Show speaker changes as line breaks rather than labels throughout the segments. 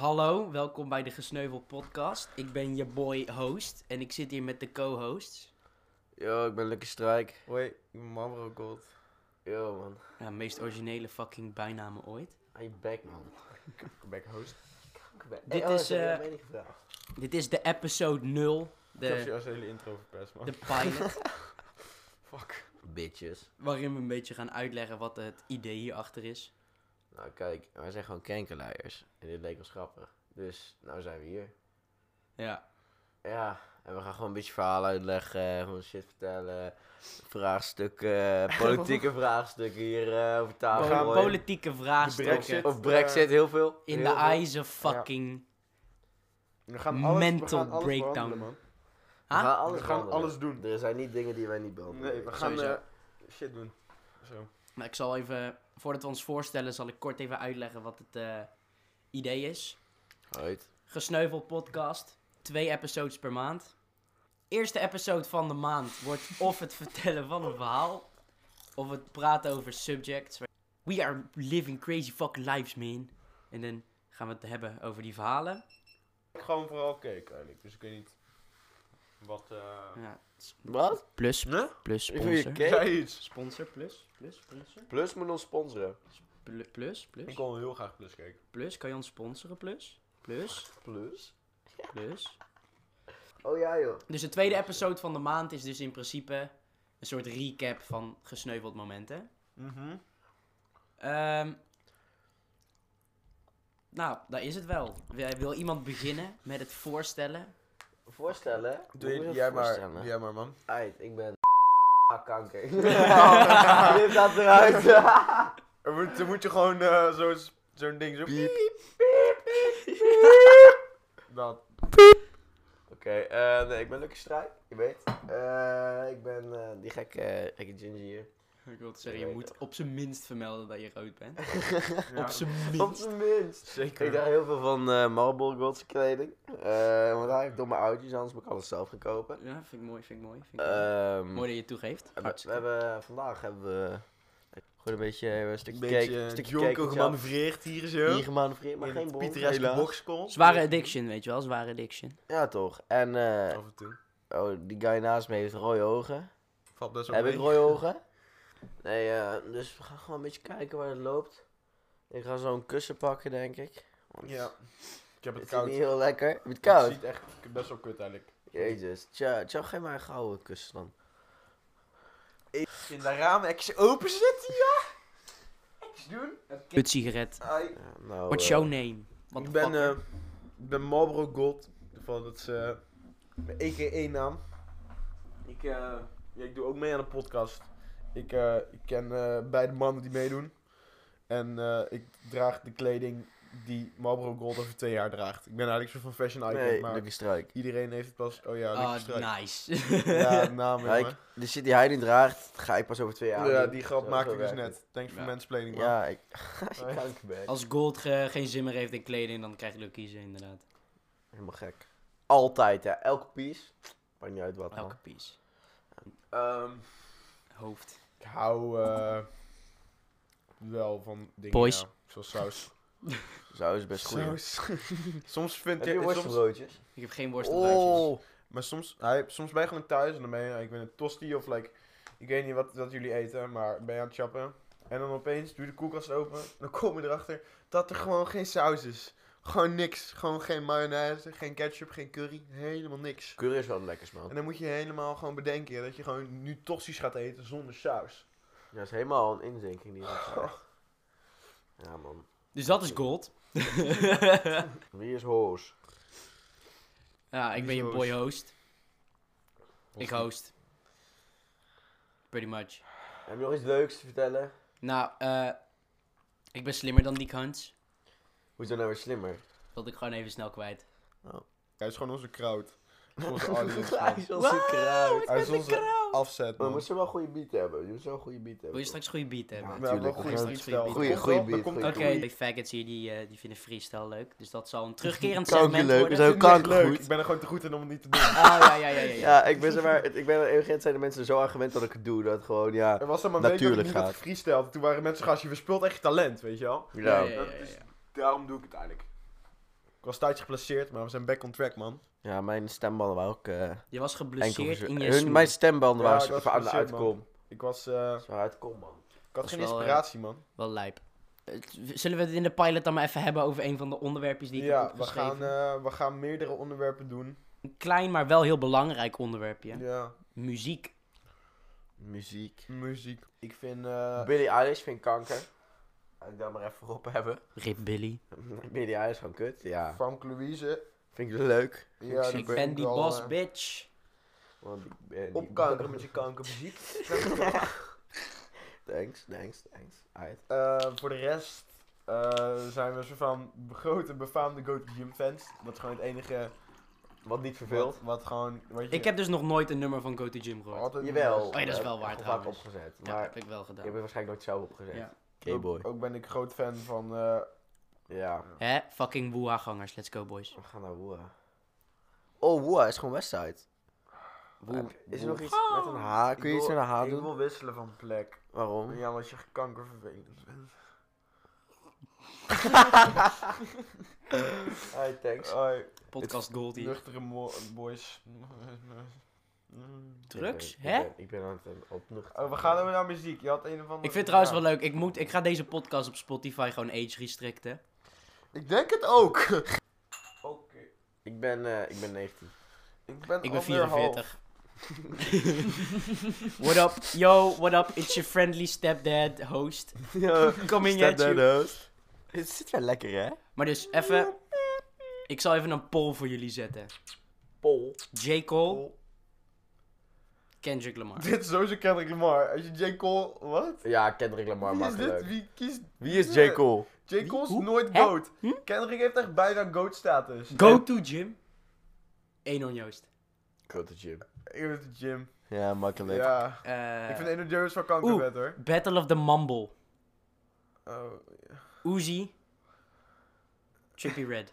Hallo, welkom bij de Gesneuvel Podcast. Ik ben je boy host en ik zit hier met de co-hosts.
Yo, ik ben Lucky Strijk.
Hoi, ik ben Marlboro Gold.
Yo, man.
Nou, meest originele fucking bijnamen ooit.
Aan je bek, man.
Back host.
Dit
oh,
is,
sorry,
eh,
dat heb ik niet gevraagd.
Dit is de episode 0,
Ik
Eh,
heb je
de,
als hele intro verpest, man.
de pilot,
Fuck.
Bitches.
waarin we een beetje gaan uitleggen wat het idee hierachter is.
Nou, kijk, wij zijn gewoon kankerluiers. En dit leek ons grappig. Dus, nou zijn we hier.
Ja,
Ja, en we gaan gewoon een beetje verhalen uitleggen. Gewoon shit vertellen. Vraagstukken, politieke vraagstukken hier eh, over
We
tafel.
gaan
gooien.
politieke
Brexit.
vraagstukken
Of Brexit, heel veel.
eh, in
Heel
de
veel.
eyes of fucking...
We gaan alles,
Mental
we gaan alles
breakdown.
behandelen, man.
We
Ha?
gaan alles,
We gaan
behandelen.
alles doen.
Er zijn niet dingen die wij niet behandelen.
Nee, we gaan
Sowieso.
eh, shit doen. Zo.
Maar ik zal even, voordat we ons voorstellen, zal ik kort even uitleggen wat het eh, idee is.
Uit.
Gesneuvel podcast. Twee episodes per maand. Eerste episode van de maand wordt of het vertellen van een verhaal. Of het praten over subjects. We are living crazy fucking lives, man. En dan gaan we het hebben over die verhalen.
Ik gewoon vooral cake eigenlijk, dus ik weet niet wat... eh
Ja,
Wat?
plus,
Nee?
plus
Ik wil je
sponsor.
cake.
Jij iets.
Sponsor, plus, plus, sponsor.
Plus moet ons sponsoren.
Pl- plus,
Ik
plus,
wil heel graag plus cake.
plus. Kan je ons sponsoren, plus? Plus,
Plus?
plus.
Oh ja, joh.
Dus de tweede episode van de maand is dus in principe een soort recap van gesneuveld momenten.
Mhm.
Ehm nou, daar is het wel. Wil, wil iemand beginnen met het voorstellen?
Voorstellen?
Doe je-
Moet ik
jij
het
maar,
voorstellen?
doe jij maar, man.
Uit, ik ben Ah, kanker. Knip dat eruit.
Er moet, dan moet je gewoon eh, zo- zo'n ding zo... Piep, Dat.
Oké, eh, nee, ik ben Lucky Strijk, je weet. Eh, ik ben eh, die gekke, gekke ginger hier.
Ik wil
zeggen, je moet
op zijn minst vermelden dat je rood bent.
Ja.
Op zijn
Op
minst.
zijn minst. Ik
Zeker.
draag heel veel van eh Marlboro Gold's kleding. Eh, want daar heb ik domme oudjes, anders moet ik alles zelf gaan kopen.
Ja, vind ik mooi, vind ik mooi. Vind ik mooi.
Ehm,
mooi dat je het toegeeft.
we- we,
Hartstikke.
hebben, vandaag hebben we gewoon een beetje een
Een
stukje
beetje
cake. Een
eh,
stukje
jonkel
cake
gemanoeuvreerd hier zo.
zelf. Hier gemanoeuvreerd, maar
in
geen
het
bom.
pittoreske
helaas.
boxcon.
Zware addiction, weet je wel, zware addiction.
Ja, toch. En eh,
Af en toe.
oh, die guy naast me heeft rode ogen.
Valt best wel
Heb
mee.
ik rode ogen? Nee, eh, dus we gaan gewoon een beetje kijken waar het loopt. Ik ga zo'n kussen pakken, denk ik. Want
Ja. Ik
Het
heb het
is
koud.
niet heel lekker. Heb je het koud?
Het ziet echt best wel kut eigenlijk.
Jezus. Tja, tja, geef maar een gouden kussen dan.
In de ramen, ik ze open zitten, ja! Niks doen.
Kut sigaret.
Ai.
Ja, nou,
What's
eh,
your name? What the
Ik ben,
fuck?
eh ik ben Marlboro Gold. Van dat is eh, mijn EKE naam. Ik, eh, ja, ik doe ook mee aan de podcast. Ik, eh, ik ken eh, beide mannen die meedoen. En eh, ik draag de kleding die Marlboro Gold over twee jaar draagt. Ik ben eigenlijk zo van fashion icon,
Nee,
maar
Lucky Strike.
iedereen heeft het pas... Oh ja,
Ah,
Lucky Strike.
nice.
Ja, naam,
Ja,
jongen.
ik, de shit die hij nu draagt, ga ik pas over twee jaar
Ja,
doen.
die grap
Zo,
maakte
zo
ik dus
werkt
net. Thanks voor
Ja.
het.
mansplaining, man.
Ja, ik... Kankerbek.
Als Gold ge- geen zin meer heeft in kleding, dan krijg je Lucky kiezen, inderdaad.
Helemaal gek. Altijd, hè. Elke piece. Maakt niet uit wat, man.
Elke piece.
Ehm,
Hoofd.
Ik hou eh, wel van dingen.
Boys.
ja, zoals saus.
zo is best goed. Heb
Saus. soms vind
je
ik. Soms,
worstelbroodjes?
Ik heb geen worstelbuikjes.
Oh!
maar soms, hij, soms ben je gewoon thuis en dan ben je. Ik ben een tosti of like. Ik weet niet wat, wat jullie eten, maar ben je aan het chappen. En dan opeens doe je de koelkast open. Dan kom je erachter dat er gewoon geen saus is. Gewoon niks. Gewoon geen mayonaise, geen ketchup, geen curry. Helemaal niks.
Curry is wel lekker, man.
En dan moet je helemaal gewoon bedenken dat je gewoon nu tosti's gaat eten zonder saus.
Ja, dat is helemaal een inzinking die dat krijgt. Ja, man.
Dus dat is Gold.
Wie is Hoos?
Ja, ik
Wie
ben
is
je
host?
boy host. Ik host. Pretty much.
Heb je nog iets leuks te vertellen?
Nou, eh, ik ben slimmer dan die Hans.
Hoezo nou weer slimmer?
Dat ik gewoon even snel kwijt.
Hij is gewoon onze crowd. Onze audience. man.
is onze kruid.
Hij is onze afzet,
Maar
man.
moet ze wel een goede beat hebben. Je moet wel een goede beat hebben.
Wil je straks goede beat hebben?
Ja,
We hebben wel
natuurlijk.
een
Goeie-
goede freestyle.
goeie-
Dat
goeie
komt wel,
beat,
dat
goeie
komt
Oké,
wel.
die faggots hier, die, eh, die vinden freestyle leuk. Dus dat zal een terugkerend
Kanker
segment
leuk,
worden.
zo-
Ik vind het
kanker
leuk.
goed.
Ik ben er gewoon te goed in om het niet te doen.
Ah, ja, ja, ja, ja. ja.
Ja, ik ben zeg maar, het- ik ben er urgent zijn de mensen er zo aan gewend dat ik het doe. Dat gewoon, ja.
Er was dan maar een week dat ik
Natuurlijk
niet had
gaat.
gefreestyled. Toen waren mensen gast, je verspilt echt je talent, weet je wel.
Ja,
Ja.
ja, ja, ja, ja.
Daarom doe ik het eigenlijk. was tijdje geplaceerd, maar we zijn back on track, man.
Ja, mijn stembanden waren ook eh
Je was
enkel
geblesseerd
gezeur-
in je
Hun-
smoel.
Mijn stembanden
Ja,
waren
ik was
super aan de
geblesseerd, man.
uitkom.
Ik was... eh,
Zwaar uitkom, man.
ik had
is
geen
wel, eh,
inspiratie, man.
Wel lijp. Het- Zullen we het in de pilot dan maar even hebben over een van de onderwerpjes die ik heb
Ja, we
opgeschreven?
gaan, eh, we gaan meerdere onderwerpen doen.
Een klein, maar wel heel belangrijk onderwerpje.
Ja.
Muziek.
Muziek.
Muziek. Ik vind... eh,
Billie Eilish vind ik kanker. Laat ik dat maar even op hebben.
Rip Billy.
Billie Eilish is gewoon kut. Ja.
Famke Louise.
Vind ik leuk.
Ja,
ik
die
Ik ben die
wel,
boss,
eh,
bitch.
Want ik ben niet-
Opkankeren met je kankermuziek.
Thanks, thanks, thanks. Alright.
Eh, voor de rest eh, zijn we een soort van grote befaamde GoToGym fans. Dat is gewoon het enige
Wat niet verveelt.
wat, wat gewoon... Wat je
Ik heb dus nog nooit een nummer van Go to Gym gehoord.
altijd
Jawel.
doet.
Oh ja, dat is
eh,
wel waar
heb ik vaak
trouwens.
opgezet.
Ja,
Maar
heb ik wel
je
gedaan.
hebt het waarschijnlijk nooit zelf opgezet.
Ja.
Oké, boy.
Ook, ook ben ik groot fan van... eh,
Ja.
Hè? Fucking woeha-gangers. Let's go, boys.
We gaan naar Woa. Oh, Woa is gewoon Westside.
Woe.
Is er
Woe.
nog iets met een H? Kun je
ik
iets met
wil-
een H
ik
doen?
wil wisselen van plek.
Waarom?
Ja, want je kankervervelend bent.
Hi, thanks.
Hoi,
Podcast Goldie.
nuchtere mo- boys.
Drugs?
Ik ben-
Hè?
Ik ben, ik ben aan het opnuchten.
Oh, we gaan over naar muziek. Je had een of andere...
Ik vind het trouwens
ja.
wel leuk. Ik, moet, ik ga deze podcast op Spotify gewoon age restricten.
Ik denk het ook. Oké.
Ik ben, eh, ik ben 19.
Ik ben,
Ik ben
anderhalf.
44. what up? Yo, what up? It's your friendly stepdad host. Coming at you.
nou. Het zit wel lekker, hè?
Maar dus, even... Ik zal even een poll voor jullie zetten.
Pol.
J. Cole, Kendrick Lamar.
Dit is sowieso Kendrick Lamar. Als je J. Cole... Wat?
Ja, Kendrick Lamar,
Wie is dit?
makkelijk.
Wie kiest...
Wie is J. Cole?
J. Cole is
Hoe?
nooit
Hè? Hm?
GOAT. Kendrick heeft echt bijna GOAT-status.
Go to gym. Enon Joost.
Go to gym.
Ik ben de gym.
Ja, makkelijk.
Ja.
Eh,
Ik vind Eno Jones wel kanker
Oeh.
vet, hoor.
Battle of the Mumble.
Oh.
Uzi. Trippy Red.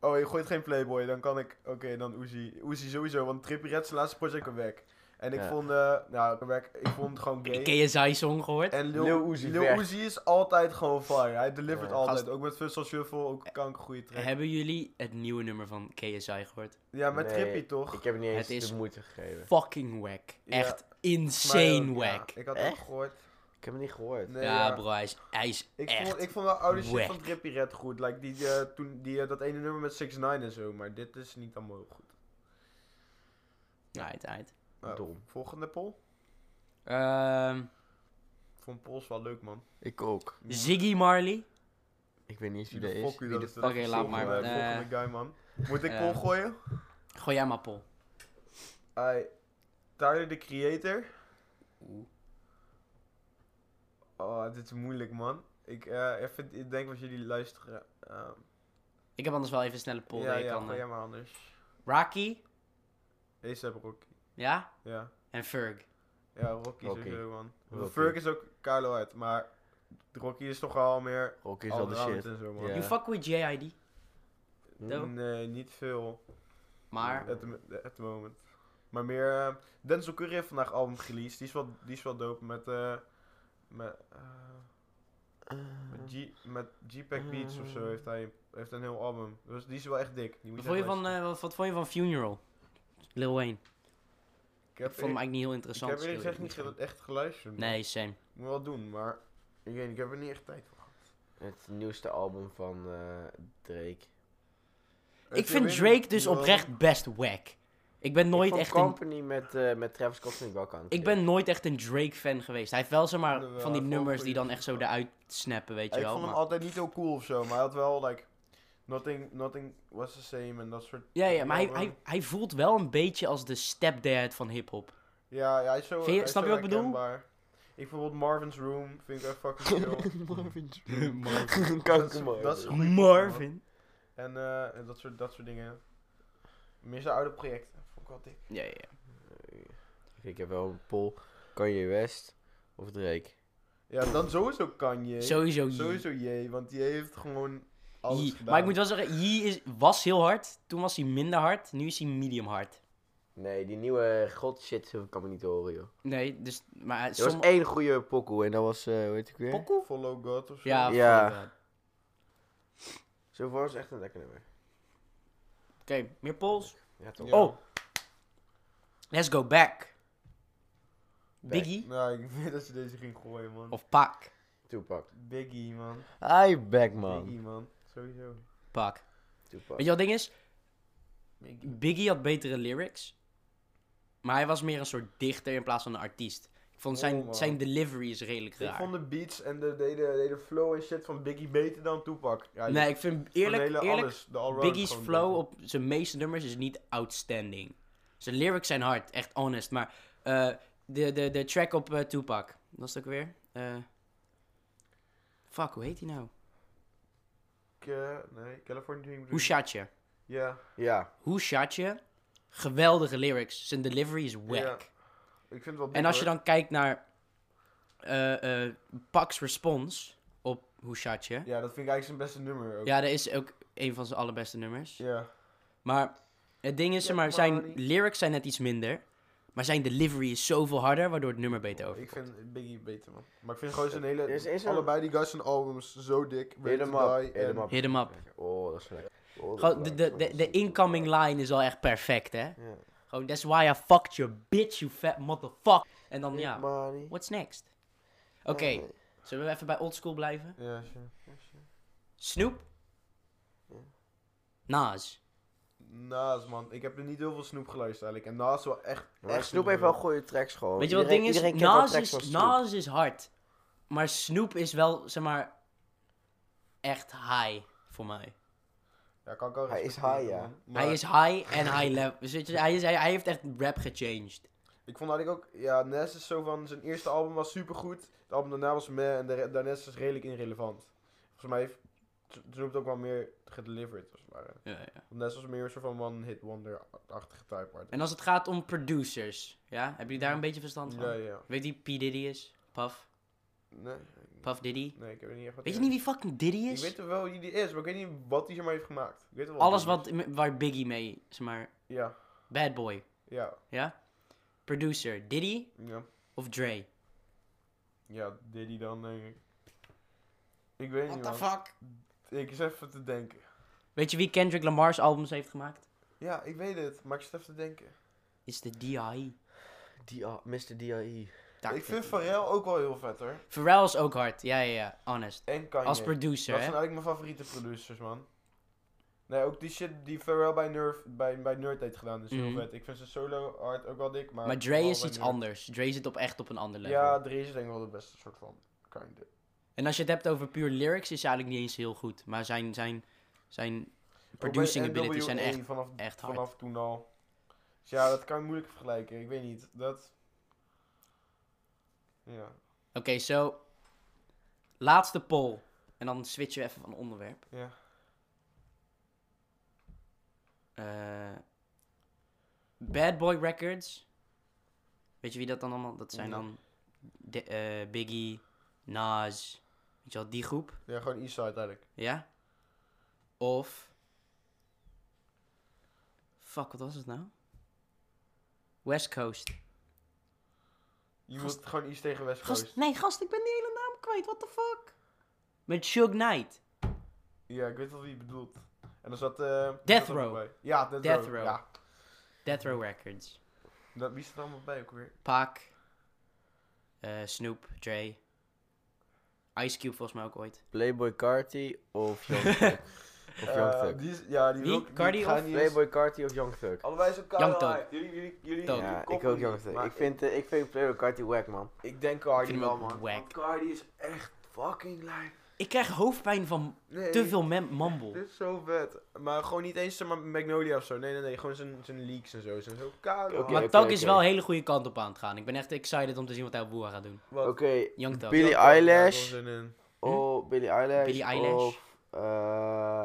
Oh, je gooit geen Playboy, dan kan ik... Oké, dan Uzi. Uzi sowieso, want Trippie Red is zijn laatste project al weg. En ik
Ja.
vond... eh nou, ik weg. Ik vond het gewoon gay.
KSI-song gehoord.
En Lil,
Lil Uzi
Lil
weg.
Uzi is altijd gewoon fire. Hij delivert
Ja.
altijd.
Gast-
Ook met Fussel Shuffle, ook kanker goede track.
Hebben jullie het nieuwe nummer van KSI gehoord?
ja, met
Nee,
Trippie toch?
Ik heb niet eens
Het is-
de moeite gegeven.
Fucking whack.
Ja.
Echt
Maar, eh,
insane
ja,
whack. Ja,
ik had
Echt?
ook gehoord.
Ik heb het niet gehoord.
Nee, ja,
bro, hij is, hij is
Ik
echt.
vond, ik vond wel oude shit van
whack.
Trippie Red goed. Like die, eh, toen, die, eh, dat ene nummer met 6 9 en zo. Maar dit is niet allemaal heel goed.
Right, right.
Nou,
Dom.
Volgende poll?
Ehm,
Ik vond polls wel leuk, man.
Ik ook.
Ziggy Marley.
Ik weet niet eens wie
de
dat is.
fuck u dat is.
fuck is laat maar,
Volgende,
eh,
volgende guy, man. Moet ik
eh,
poll gooien?
Gooi jij maar, Paul.
Ai. Tyler, de creator.
Oeh.
Oh, dit is moeilijk, man. Ik, eh, even, ik denk wat jullie luisteren. ehm,
Ik heb anders wel even een snelle poll.
ja,
die ik
ja,
kan,
gooi
eh,
jij maar anders.
Rocky.
Deze heb Rocky.
Ja?
Ja.
En Ferg.
Ja, Rocky,
Rocky.
sowieso, man.
Rocky.
Ferg is ook Kylo uit, maar Rocky is toch al meer...
Rock is Oh, nou, al de
allround
shit.
en zo, man.
Ja.
You fuck with JID.
Mm.
Doe.
Nee, niet veel.
Maar
At the, at the moment. Maar meer... eh, Denzel Curry heeft vandaag album geleased. Die is wel, die is wel dope met... eh met... eh,
Ah.
Met G- met
Mm.
G-Pack Beats of zo heeft hij heeft een heel album. Dus die is wel echt dik. Die moet
wat vond, je
je echt
van,
luisteren.
eh, wat, wat vond je van Funeral? Lil Wayne.
ik heb,
Ik vond hem
eer-
eigenlijk niet heel
ik
interessant.
heb eerlijk
schreeuw ik
gezegd niet Eh,
gewoon.
ge- echt geluisterd. man.
Nee, same.
Ik moet wel doen, maar ik, weet, niet, ik heb er niet echt tijd voor.
Het nieuwste album van eh, Drake.
Ik vind Drake dus oprecht best whack. Ik ben nooit
ik vond
echt een,
Company met, eh, met Travis Scott vind ik wel kanker.
ik ben nooit echt een Drake fan geweest. Hij heeft wel zeg maar
Jawel,
van die
hij valt
nummers
goed
die
in.
dan echt zo eruit snappen, weet je
Ik
wel.
vond hem
maar-
altijd niet heel cool of zo, maar hij had wel like nothing, nothing was the same en dat soort.
Ja, ja, maar hij,
album.
hij, hij voelt wel een beetje als de stepdad van hip-hop.
Ja, ja, hij is zo.
Vind je-
hij is
snap
zo
je wat ik bedoel?
herkenbaar. Ik bijvoorbeeld Marvin's Room vind ik echt fucking chill.
kanker
dat is-
Marvin.
en eh, en dat, soort, dat soort dingen. Meer zijn oude projecten. Vond ik wel dik.
Ja, ja, ja.
Ik heb wel een poll. Kanye West of Drake?
Ja, dan sowieso kan je.
Sowieso. Yee.
Sowieso J, want die heeft gewoon alles
Yee.
gedaan.
Maar ik moet wel zeggen, Yee is, was heel hard. Toen was hij minder hard. Nu is hij medium hard.
Nee, die nieuwe god shit kan me niet horen, joh.
Nee, dus... Maar
Er was
sommige...
één goede pokoe en dat was, eh hoe heet ik weer?
Pokoe?
Follow God of zo.
Ja,
Ja.
voor, eh,
Zo voor is echt een lekker nummer.
meer polls.
Ja, toch?
Ja.
Oh. Let's go back. Biggie
Nou, ik weet dat je deze ging gooien, man.
of Pak?
Toepak.
Biggie, man.
Hi, back man.
Biggie, man. Sowieso.
Pak.
Tupac.
Weet je wat ding is?
Biggie.
Biggie had betere lyrics. Maar hij was meer een soort dichter in plaats van een artiest. Ik vond zijn,
Oh, man.
zijn delivery is redelijk
Ik
raar.
vond de beats en de, de, de, de flow en shit van Biggie beter dan Tupac. Ja, je-
nee, ik vind
gewoon
eerlijk,
hele
eerlijk
alles, de allround
Biggie's
gewoon
flow
beter.
op zijn meeste nummers is niet outstanding. Zijn lyrics zijn hard, echt honest. Maar eh, de, de, de track op eh, Tupac, wat was dat ook weer? Eh, fuck, hoe heet die
Hmm.
nou?
Ik, eh, nee, California Dream. bedoel
Hoe
ik.
shot je?
Ja,
Ja.
Hoe shot je? Geweldige lyrics. Zijn delivery is wack.
Ja. ik vind het wel
En als je
dik,
dan kijkt naar eh eh Pac's response op Hoe shot je?
hoor. Ja, dat vind ik eigenlijk zijn beste nummer ook.
Ja, dat is ook een van zijn allerbeste nummers.
Ja.
Maar het ding is,
Ja,
zeg maar, zijn
money.
lyrics zijn net iets minder. Maar zijn delivery is zoveel harder, waardoor het nummer beter over.
Ik vind Biggie beter, man. Maar ik vind gewoon zijn hele...
Er is- is er-
allebei die guys zijn albums zo dik. Ready to
Helemaal.
Die en-
Helemaal.
Hit hem up.
Oh, dat is lekker. Oh, dat
Gewoon,
is
de, de,
lekker.
de, de incoming line is al echt perfect, hè?
Ja.
Gewoon, that's why I fucked your bitch, you fat motherfucker. En dan, ja,
Money.
what's next? Oké, zullen we even bij old school blijven?
Ja, sure.
Snoop? Nas.
Naas, man. Ik heb er niet heel veel Snoep geluisterd eigenlijk. En Naas is wel echt...
Maar
echt
Snoep heeft wel goede tracks gewoon.
Weet je wat het ding
Oh,
is?
Iedereen- iedereen kent wel
Nas
tracks
is,
van Snoep.
Nas is hard. Maar Snoop is wel, zeg maar, echt high voor mij.
Ja, kan ik wel
Hij is
respecteren,
high, ja.
man. Maar
Hij is high en high level. Dus weet je, hij, is, hij, hij heeft echt rap gechanged.
Ik vond eigenlijk ook... Ja, Nes is zo van... Zijn eerste album was supergoed. Het album daarna was meh. En de re- daarna is het redelijk irrelevant. Volgens mij heeft Snoep ook wel meer gedelivered, als het ware. Want Nes was meer een soort van one-hit wonder-achtige type. maar-
En als het gaat om producers, ja? Hebben jullie daar een beetje verstand van?
Ja, ja.
Weet je wie P. Diddy is? Puff?
Nee,
Puff Diddy?
nee, ik heb er niet echt wat
Weet je
idee.
niet wie fucking Diddy
Ik weet
is?
er wel wie die is, maar ik weet niet wat hij zomaar heeft gemaakt. Ik weet wel
Alles
wie die
wat, waar Biggie mee, zeg maar,
is. Ja,
bad boy,
ja,
ja? Producer, Diddy
ja.
of Dre?
Ja, Diddy dan, denk ik. Ik weet niet, man.
fuck?
Ik is even te denken.
Weet je wie Kendrick Lamar's albums heeft gemaakt?
Ja, ik weet het, maar ik zit even te denken.
Is de D.I.
D.A. Mr. D.I.E.
Daar-
ik vind Pharrell ook wel heel vet, hoor.
Pharrell is ook hard, ja, ja, ja, honest.
En Kanye.
Als
Dat
producer,
zijn
hè?
eigenlijk mijn favoriete producers, man. Nee, ook die shit die Pharrell bij, Nerf, bij, bij Nerd heeft gedaan is
Mhm.
heel vet. Ik vind zijn solo art ook wel dik, maar...
Maar Dre
vooral
is
bij
iets
Nerd.
anders. Dre zit op echt op een ander level.
Ja, Dre is denk ik wel de beste soort van. Kind of.
En als je het hebt over puur lyrics, is hij eigenlijk niet eens heel goed. Maar zijn, zijn, zijn
eh,
producing
Ook bij
abilities zijn
NWA
echt...
vanaf,
echt hard.
vanaf toen al. Dus ja, dat kan je moeilijk vergelijken. Ik weet niet. Dat. Ja.
Oké, so... Laatste poll. En dan switchen we even van onderwerp.
Ja.
Eh, Bad Boy Records. Weet je wie dat dan allemaal... Dat zijn
Nee.
dan de, eh, Biggie, Nas. Weet je wel, die groep.
Ja, gewoon Eastside eigenlijk.
Ja? Of... Fuck, wat was het nou? West Coast.
Je
Gast-
moet gewoon East tegen West Coast.
Gast, nee, gast, ik ben die hele naam kwijt. What the fuck? Met Shug Knight.
Ja, ik weet wel wie je bedoelt. En dan zat... eh
Death
zat er nog
Row.
bij. Ja, Death,
Death
Row.
Row.
Ja.
Death Row Records.
Dat, wie staat er allemaal bij ook weer?
Pac. Eh, Snoop. Dre. Ice Cube volgens mij ook ooit.
Playboy Carti of Young Thug? Of Young
Eh,
Thug?
die is- ja, die
Wie?
wil ik- die
Cardi
ga
of-
niet eens-
Playboy Carti of Young Thug?
Oh,
Allebei zo elkaar.
Young Thug.
uit. Jullie, jullie, jullie.
Thug.
jullie
Ja, ik
koppelen
ook Young
niet,
Thug.
maar
Ik vind, eh, ik vind Playboy Carti wack, man.
Ik denk
Ik
Cardi
vind hem
wel,
ook wack.
man. Want Cardi is echt fucking lijp.
Ik krijg hoofdpijn van
Nee.
te veel mem- mumble.
Dit is zo vet. Maar gewoon niet eens zeg maar Magnolia of zo. Nee, nee, nee. Gewoon zijn, zijn leaks en zo. Zijn zo koud.
Oké.
maar
oké,
Tag is
oké.
wel een hele goede kant op aan het gaan. Ik ben echt excited om te zien wat hij op Boer gaat doen.
Wat?
Oké,
Young Tag.
Billie
Ja, daar heb ik wel
Eilish.
zin in.
Hm?
Oh, Billie Eilish.
Billie Eilish.
Of eh,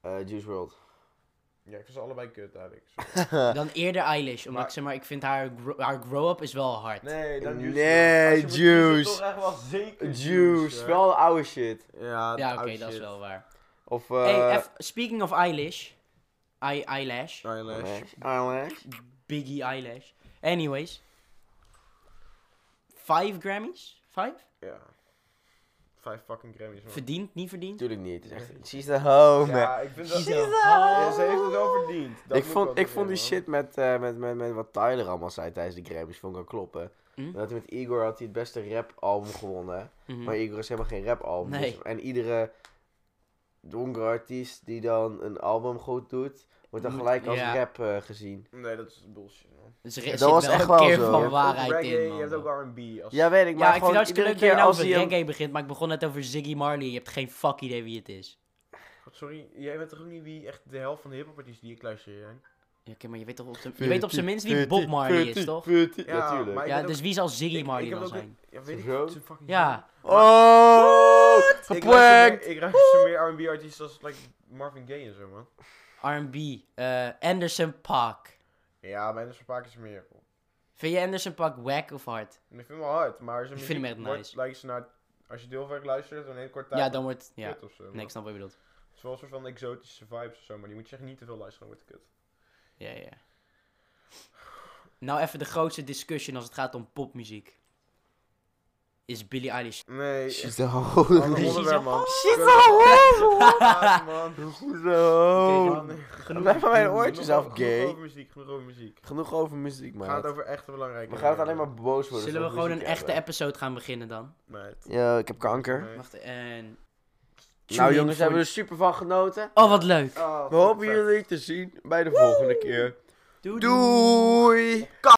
eh, Juice WRLD.
Ja, ik vind ze allebei kut eigenlijk. Zo.
Dan eerder Eilish. Omdat
Maar-
ik zeg maar, ik vind haar, gro- haar grow-up is wel hard.
Nee, dan Juice.
Nee,
Als je moet kiezen,
Juice.
toch echt wel zeker
Juice,
hè?
wel oude shit.
Ja,
Ja, oké,
oude
dat is
shit.
wel waar.
Of
hey,
eh
eff- speaking of eyelash. I eyelash.
Eilish.
Eilish. Eilish.
Biggie eyelash. Anyways. Vijf Grammys? Vijf?
Ja. Vijf fucking Grammys, man.
Verdiend, niet verdiend?
Tuurlijk niet. Het is echt- She's the home.
Ja, ik vind dat...
She's a
Ja, ze heeft het wel verdiend. verdiend. Dat
Ik
moet
vond,
wel
ik vond die
toegeven,
shit met, eh, met, met, met wat Tyler allemaal zei tijdens de Grammys, vond ik wel kloppen.
Hm?
Dat hij met Igor had hij het beste rapalbum gewonnen. hè.
Mhm.
Maar Igor is helemaal geen rapalbum.
Nee.
Dus- en iedere donkere artiest die dan een album goed doet, wordt dan
Moet-
gelijk als
ja.
rap eh, gezien.
hoor. Nee, dat is bullshit, man.
Dus er
dat
zit
was
wel
echt
een
wel
keer
zo. Je
van
hebt
Ook
waarheid
reggae,
in,
Je
man.
hebt ook R&B. Als...
Ja, weet ik, maar
Ja, ik vind
gewoon
het hartstikke
iedere
leuk dat je
keer
nou
als
over
hij hem-
reggae begint, maar ik begon net over Ziggy Marley. Je hebt geen fuck idee wie het is.
God, Sorry, jij weet toch ook niet wie echt de helft van de hip die ik luister zijn?
Ja, oké, maar je weet toch op zijn, je weet op zijn minst wie Bob Marley is, toch?
Ja,
natuurlijk.
maar- ik
ja,
ben ook-
dus wie zal Ziggy
Ik- ik
Marley
heb
dan
ook
zijn?
Ja, weet ik
Zo?
het is een fucking
Ja,
Oh,
Ik luister
geprankt!
meer- Ik ruister meer R&B artiesten als like, Marvin Gaye en zo, man.
R&B. eh, Anderson Park.
Ja, maar Anderson Paak is er meer.
Vind je Anderson Park wack of hard?
En ik vind hem wel hard, maar zijn
Ik vind hem
muziek
echt
wordt-
nice.
lijkt ze naar, als je deelwerk luistert, dan een kort tijd
Ja, dan wordt... Ja,
kut of zo. man.
nee, ik snap wat je bedoelt.
Het is wel een soort van exotische vibes of zo, maar die moet je echt niet te veel luisteren, dan wordt het kut.
Ja, ja. Nou even de grootste discussion als het gaat om popmuziek. Is Billie Eilish...
Nee,
She's
echt
the
een
holy.
ander
She's
onderwerp,
a-
man.
She's
Kut. Ah, man.
Zo.
Oké, dan-
Blijf van mijn oortjes
Genoeg
af,
over- Genoeg
gay.
over muziek, genoeg over muziek.
Genoeg over muziek,
We gaan het
man.
over echte belangrijke
We gaan het alleen
dingen
maar boos worden.
Zullen we
als
gewoon een
muziek
echte
hebben.
episode gaan beginnen dan?
hebben. Meid.
Ja, ik heb kanker.
Nee.
Wacht, en...
Nou
Tuning
jongens,
voor-
hebben we er super van genoten.
Oh, wat leuk!
Oh,
We hopen
fuck.
jullie te zien bij de volgende keer.
Doei!
Doei!